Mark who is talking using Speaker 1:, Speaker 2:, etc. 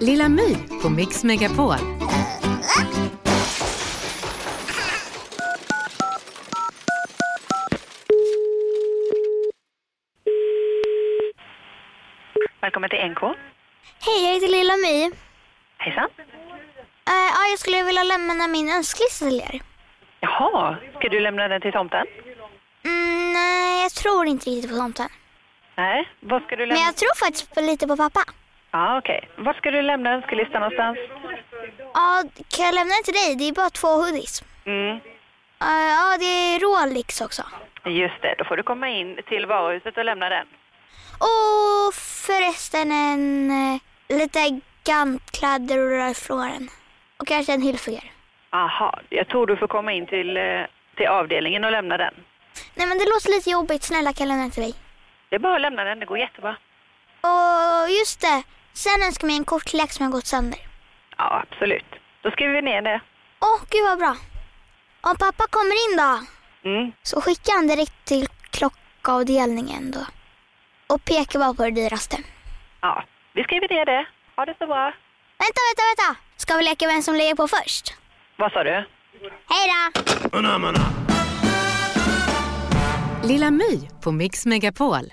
Speaker 1: Lilla My på Mix Megapol.
Speaker 2: Välkommen till NK.
Speaker 3: Hej, jag heter Lilla My.
Speaker 2: Hejsan.
Speaker 3: Eh, ja, jag skulle vilja lämna min önskelista till er.
Speaker 2: Jaha, ska du lämna den till tomten?
Speaker 3: Mm, nej, jag tror inte riktigt på tomten.
Speaker 2: Nej, vad ska du
Speaker 3: Men
Speaker 2: lämna?
Speaker 3: jag tror faktiskt på, lite på pappa.
Speaker 2: Ja, okej. Var ska du lämna önskelistan någonstans?
Speaker 3: Ja, kan jag lämna den till dig? Det är bara två hoodies.
Speaker 2: Mm,
Speaker 3: Eh, ja, det är Rolex också.
Speaker 2: just det. Då får du komma in till varuhuset och lämna den.
Speaker 3: Och förresten en eh, lite gantkläder och röd flåren. Och kanske en hyllfigur.
Speaker 2: Aha, jag tror du får komma in till, eh, till avdelningen och lämna den.
Speaker 3: Nej, men det låter lite jobbigt. Snälla, kan jag lämna den till dig?
Speaker 2: Det är bara att lämna den, det går jättebra.
Speaker 3: Och just det, sen önskar jag mig en kortlek som har gått sönder.
Speaker 2: Ja, absolut. Då skriver vi ner det.
Speaker 3: Åh, gud vad bra. Om pappa kommer in då?
Speaker 2: Mm.
Speaker 3: Så skickar han direkt till klockavdelningen då. Och pekar bara på det dyraste.
Speaker 2: Ja, vi skriver ner det. Ha det så bra.
Speaker 3: Vänta, vänta, vänta! Ska vi leka vem som lägger på först?
Speaker 2: Vad sa du?
Speaker 3: Hej då!
Speaker 1: Lilla My på Mix Megapol.